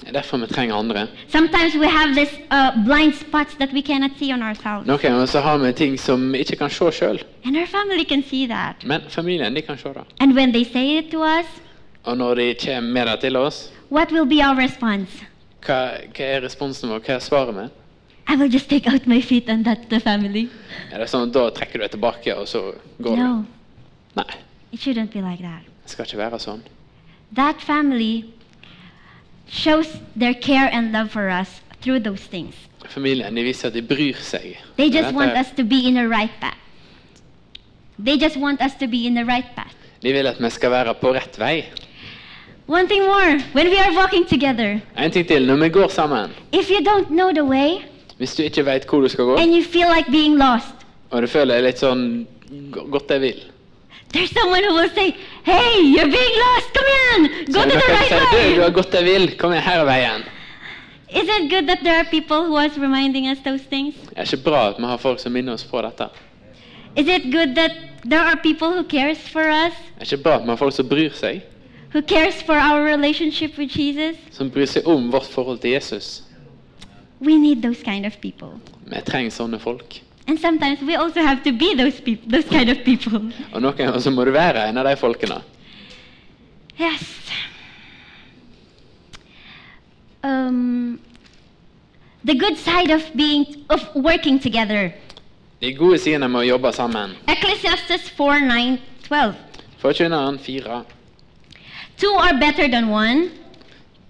Speaker 2: Det er derfor vi trenger andre.
Speaker 1: Sometimes we have these uh, blind spots that we cannot see on ourselves,
Speaker 2: Noen ganger så har vi ting som vi ikke kan se sjøl,
Speaker 1: and our family can see that.
Speaker 2: men familien de kan se det.
Speaker 1: And when they say it to us,
Speaker 2: Og når de kommer med det til oss,
Speaker 1: what will be our response?
Speaker 2: hva, hva er responsen vår? Hva er svaret vi?
Speaker 1: I will just take out my feet and that's the family.
Speaker 2: Er det sånn at da trekker du deg tilbake, og så går
Speaker 1: No,
Speaker 2: du? Nei,
Speaker 1: it shouldn't be like that.
Speaker 2: det skal ikke være sånn.
Speaker 1: That family shows their care and love for us through those things.
Speaker 2: Familien de viser at de bryr seg.
Speaker 1: They
Speaker 2: Dette-
Speaker 1: just want us to be in the right path. They just want us to be in the right path.
Speaker 2: De vil at vi skal være på rett vei.
Speaker 1: One thing more when we are walking together,
Speaker 2: En ting til når vi går sammen.
Speaker 1: if you don't know the way
Speaker 2: Hvis du ikke vet hvor du skal gå,
Speaker 1: and you feel like being lost,
Speaker 2: og du føler litt sånn "Gå- godt jeg vil,
Speaker 1: There's someone who will say, Hey, you're being lost, come on,
Speaker 2: så
Speaker 1: go
Speaker 2: er
Speaker 1: to
Speaker 2: det
Speaker 1: the
Speaker 2: noen som
Speaker 1: right
Speaker 2: sier du, du har
Speaker 1: way.
Speaker 2: gått jeg vil, kom igjen, her er veien.
Speaker 1: Is it good that there are people who are reminding us those things?
Speaker 2: Det er ikke bra at vi har folk som minner oss på dette.
Speaker 1: Is it good that there are people who cares for us,
Speaker 2: Det er ikke bra at vi har folk som bryr seg,
Speaker 1: who cares for our relationship with Jesus?
Speaker 2: som bryr seg om vårt forhold til Jesus.
Speaker 1: We need those kind of people.
Speaker 2: Vi trenger sånne folk.
Speaker 1: And sometimes we also have to be those people, those kind of people.
Speaker 2: Og noen ganger så må du være en av de folkene.
Speaker 1: Yes. Um, the good side of being of working together.
Speaker 2: De gode sidene med å jobbe sammen.
Speaker 1: Ecclesiastes 4, 9, 12.
Speaker 2: Forkynneren fire.
Speaker 1: Two are better than one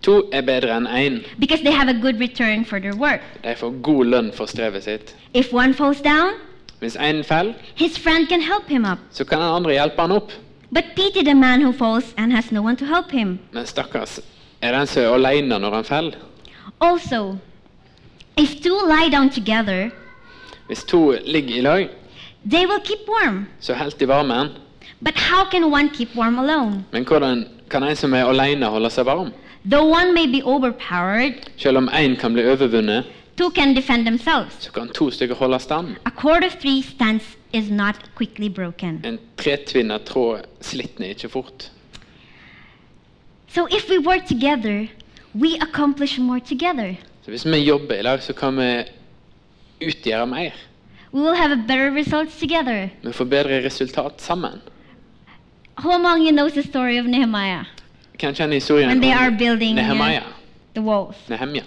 Speaker 2: To er bedre enn én.
Speaker 1: because they have a good return for their work.
Speaker 2: De får god lønn for strevet sitt.
Speaker 1: If one falls down,
Speaker 2: Hvis én faller,
Speaker 1: his friend can help him up.
Speaker 2: så kan den andre hjelpe han opp.
Speaker 1: But pity the man who falls and has no one to help him.
Speaker 2: Men stakkars, er den som er alene når han faller?
Speaker 1: Also, if two lie down together,
Speaker 2: Hvis to ligger i lag,
Speaker 1: they will keep warm.
Speaker 2: så helt i varmen.
Speaker 1: But how can one keep warm alone?
Speaker 2: Men hvordan kan en som er alene, holde seg varm?
Speaker 1: Though one may be overpowered,
Speaker 2: Selv om én kan bli overvunnet,
Speaker 1: two can defend themselves.
Speaker 2: så kan to stykker holde stand.
Speaker 1: A cord of three stands is not quickly broken.
Speaker 2: En tretvinnet tråd slitner ikke fort.
Speaker 1: So if we work together, we accomplish more together.
Speaker 2: Så hvis vi jobber i lag, så kan vi utgjøre mer.
Speaker 1: We will have a better results together.
Speaker 2: Vi får bedre resultat sammen.
Speaker 1: Who among you knows the story of Nehemiah,
Speaker 2: Kan kjenne historien
Speaker 1: When they are building, uh,
Speaker 2: Nehemia.
Speaker 1: the walls?
Speaker 2: Nehemia.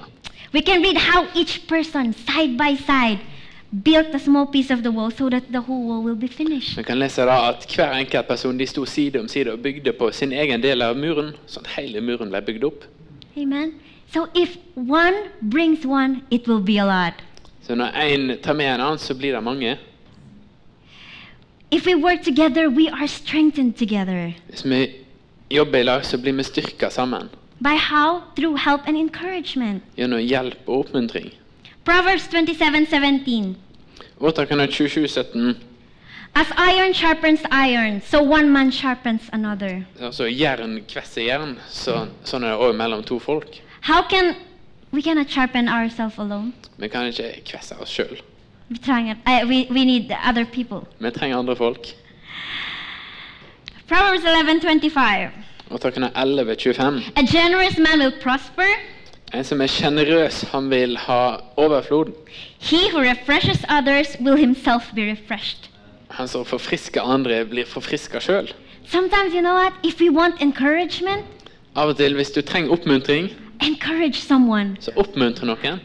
Speaker 1: We can read how each person, side by side, built a small piece of the wall so that the whole wall will be finished.
Speaker 2: Vi kan lese da at hver enkelt person de sto side om side og bygde på sin egen del av muren, sånn at hele muren ble bygd opp.
Speaker 1: Amen. So if one brings one, it will be a lot.
Speaker 2: Så når én tar med en annen, så blir det mange.
Speaker 1: If we work together, we are strengthened together.
Speaker 2: Hvis vi jobber i lag, så blir vi styrka sammen
Speaker 1: By how? Through help and encouragement.
Speaker 2: gjennom hjelp og oppmuntring.
Speaker 1: Proverbs 27:17.
Speaker 2: Ordtakene 2717,
Speaker 1: As iron sharpens iron, so one man sharpens another.
Speaker 2: altså jern kvesser jern, så, sånn er det òg mellom to folk.
Speaker 1: How can we cannot sharpen ourselves alone?
Speaker 2: Vi kan ikke kvesse oss sjøl.
Speaker 1: We, trying it, uh, we, we need the other people.
Speaker 2: Vi trenger andre folk.
Speaker 1: Proverbs 11:25.
Speaker 2: Ordtakene 1125.
Speaker 1: A generous man will prosper.
Speaker 2: En som er sjenerøs, han vil ha overflod.
Speaker 1: He who refreshes others will himself be refreshed.
Speaker 2: Han som forfrisker andre, blir forfriska sjøl.
Speaker 1: Sometimes, you know what? If we want encouragement,
Speaker 2: Av og til, hvis du trenger oppmuntring,
Speaker 1: encourage someone.
Speaker 2: så oppmuntre noen.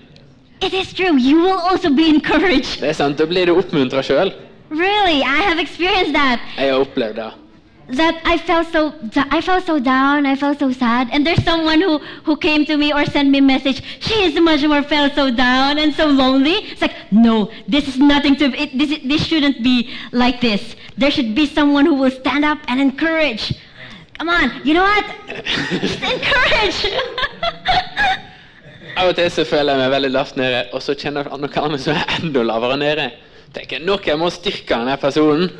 Speaker 1: It is true, you will also be encouraged.
Speaker 2: Det er sant, Da blir du oppmuntra sjøl.
Speaker 1: Really, I have experienced that.
Speaker 2: Jeg har opplevd det.
Speaker 1: That I felt so I felt so down, I felt so sad, and there's someone who who came to me or sent me a message. She is much more felt so down and so lonely. It's like no, this is nothing to it, this is- this shouldn't be like this. There should be someone who will stand up and encourage. Come on, you know what? Just encourage.
Speaker 2: Av og til så føler jeg meg veldig lavt nede, og så kjenner jeg at noen andre som er enda lavere nede. Tenker noen må styrke denne personen.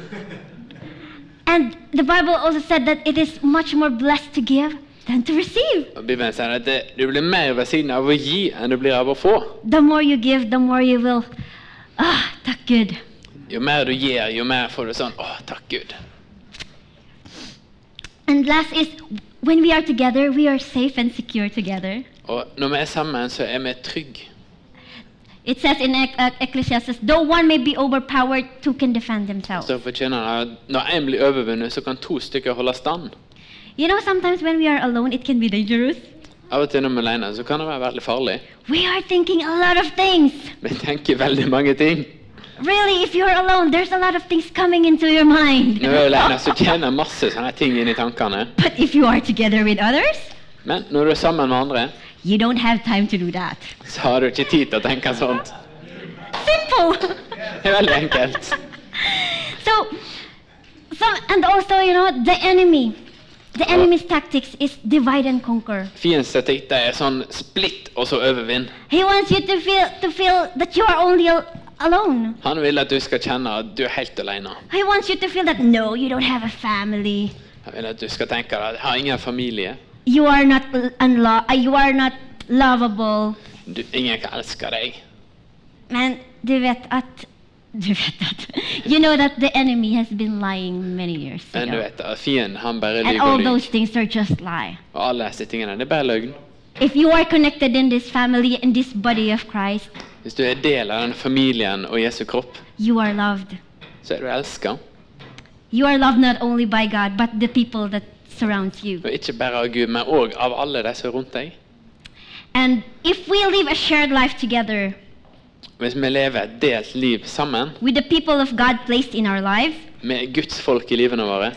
Speaker 1: and the Bible also said that it is much more blessed to give than to receive.
Speaker 2: Og Bibelen sier at det, du blir mer ved siden av å gi enn du blir av å få.
Speaker 1: The more you give, the more you will. Ah, that's good.
Speaker 2: Jo mer du gir, jo mer får du sånn Å, takk Gud.
Speaker 1: And last is when we are together, we are safe and secure together.
Speaker 2: Og når vi er sammen, så er vi trygge.
Speaker 1: It says in Ec- Ec- Ecclesiastes, though one may be overpowered, two can defend themselves.
Speaker 2: Så fortjener han at når én blir overvunnet, så kan to stykker holde stand.
Speaker 1: You know, sometimes when we are alone, it can be dangerous.
Speaker 2: Av og til når vi er alene, så kan det være veldig farlig.
Speaker 1: We are thinking a lot of things.
Speaker 2: Vi tenker veldig mange ting.
Speaker 1: Really, if you're alone, there's a lot of things coming into your mind.
Speaker 2: Når vi er alene, så kjenner jeg masse sånne ting inn i tankene.
Speaker 1: but if you are together with others,
Speaker 2: Men når du er sammen med andre,
Speaker 1: you don't have time to do that.
Speaker 2: så har du ikke tid til å tenke sånt.
Speaker 1: Simple.
Speaker 2: Det er veldig enkelt.
Speaker 1: So, some, and also, you know, the enemy. The enemy's tactics is divide and conquer.
Speaker 2: Fiendens statikk det er sånn splitt og så overvinn.
Speaker 1: He wants you to feel to feel that you are only al- alone.
Speaker 2: Han vil at du skal kjenne at du er helt alene.
Speaker 1: He wants you to feel that no, you don't have a family.
Speaker 2: Han vil at du skal tenke at jeg har ingen familie.
Speaker 1: You are not l- unlo- uh, you are not lovable.
Speaker 2: Du, ingen kan elske deg.
Speaker 1: Man, du vet at du vet at you know that the enemy has been lying many years
Speaker 2: Men du
Speaker 1: ago.
Speaker 2: vet at fienden han bare
Speaker 1: And
Speaker 2: lyver
Speaker 1: all
Speaker 2: og lyver.
Speaker 1: those things are just lie.
Speaker 2: Og alle disse tingene, det er bare løgn.
Speaker 1: If you are connected in this family in this body of Christ,
Speaker 2: Hvis du er del av den familien og Jesu kropp,
Speaker 1: you are loved.
Speaker 2: så er du elska.
Speaker 1: You are loved not only by God but the people that surrounds you.
Speaker 2: Og ikke bare av Gud, men òg av alle de som er rundt deg.
Speaker 1: And if we live a shared life together,
Speaker 2: Hvis vi lever et delt liv sammen
Speaker 1: with the people of God placed in our lives,
Speaker 2: med Guds folk i livene våre,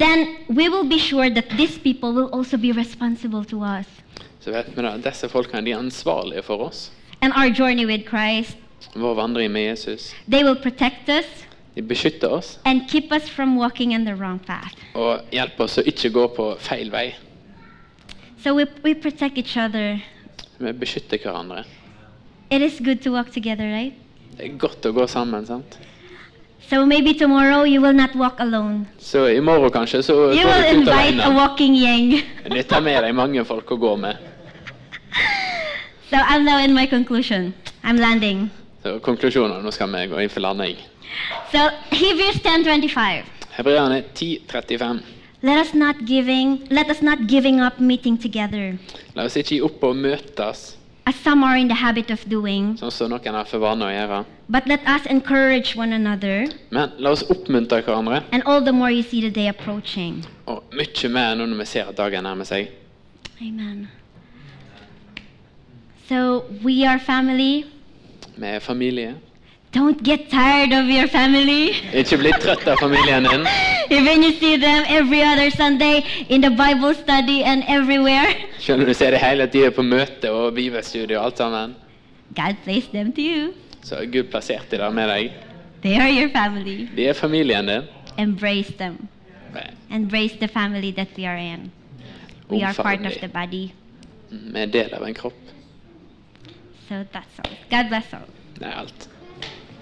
Speaker 1: then we will be sure that these people will also be responsible to us.
Speaker 2: så vet vi da at disse folkene de er ansvarlige for oss.
Speaker 1: And our journey with Christ,
Speaker 2: Vår vandring med Jesus.
Speaker 1: they will protect us
Speaker 2: De beskytter oss
Speaker 1: and keep us from walking in the wrong path.
Speaker 2: og hjelper oss å ikke gå på feil vei.
Speaker 1: So we, we protect each other.
Speaker 2: Vi beskytter hverandre.
Speaker 1: It is good to walk together, right?
Speaker 2: Det er godt å gå sammen, sant?
Speaker 1: So maybe tomorrow you will not walk alone.
Speaker 2: Så i morgen kanskje så
Speaker 1: You
Speaker 2: går
Speaker 1: will
Speaker 2: du ut
Speaker 1: invite a
Speaker 2: alene.
Speaker 1: walking yang.
Speaker 2: Men Du tar med deg mange folk å gå med.
Speaker 1: so I'm now in my conclusion. I'm landing.
Speaker 2: Så konklusjonen, nå skal vi gå inn for landing.
Speaker 1: So Hebrews 10:25.
Speaker 2: Hebreerne 10.35.
Speaker 1: Let us not giving let us not giving up meeting together,
Speaker 2: La oss ikke gi opp å møtes,
Speaker 1: as some are in the habit of doing,
Speaker 2: sånn som noen har for vane å gjøre.
Speaker 1: but let us encourage one another,
Speaker 2: Men la oss oppmuntre hverandre,
Speaker 1: and all the more you see the day approaching.
Speaker 2: og mye mer nå når vi ser at dagen nærmer seg.
Speaker 1: Amen. So we are family.
Speaker 2: Vi er familie.
Speaker 1: Don't get tired of your family.
Speaker 2: Ikke bli trøtt av familien din.
Speaker 1: Even you see them every other Sunday in the Bible study and everywhere.
Speaker 2: Selv om du ser det hele tiden på møte og bibelstudio og alt sammen,
Speaker 1: God placed them to you.
Speaker 2: så har Gud plassert de der med deg.
Speaker 1: They are your family.
Speaker 2: De er familien din.
Speaker 1: Embrace them. Embrace the family that we are in.
Speaker 2: Oh,
Speaker 1: We are part
Speaker 2: Omfavn
Speaker 1: of the
Speaker 2: dem.
Speaker 1: body.
Speaker 2: Vi er del av en kropp.
Speaker 1: So that's all. God bless all.
Speaker 2: Det er alt.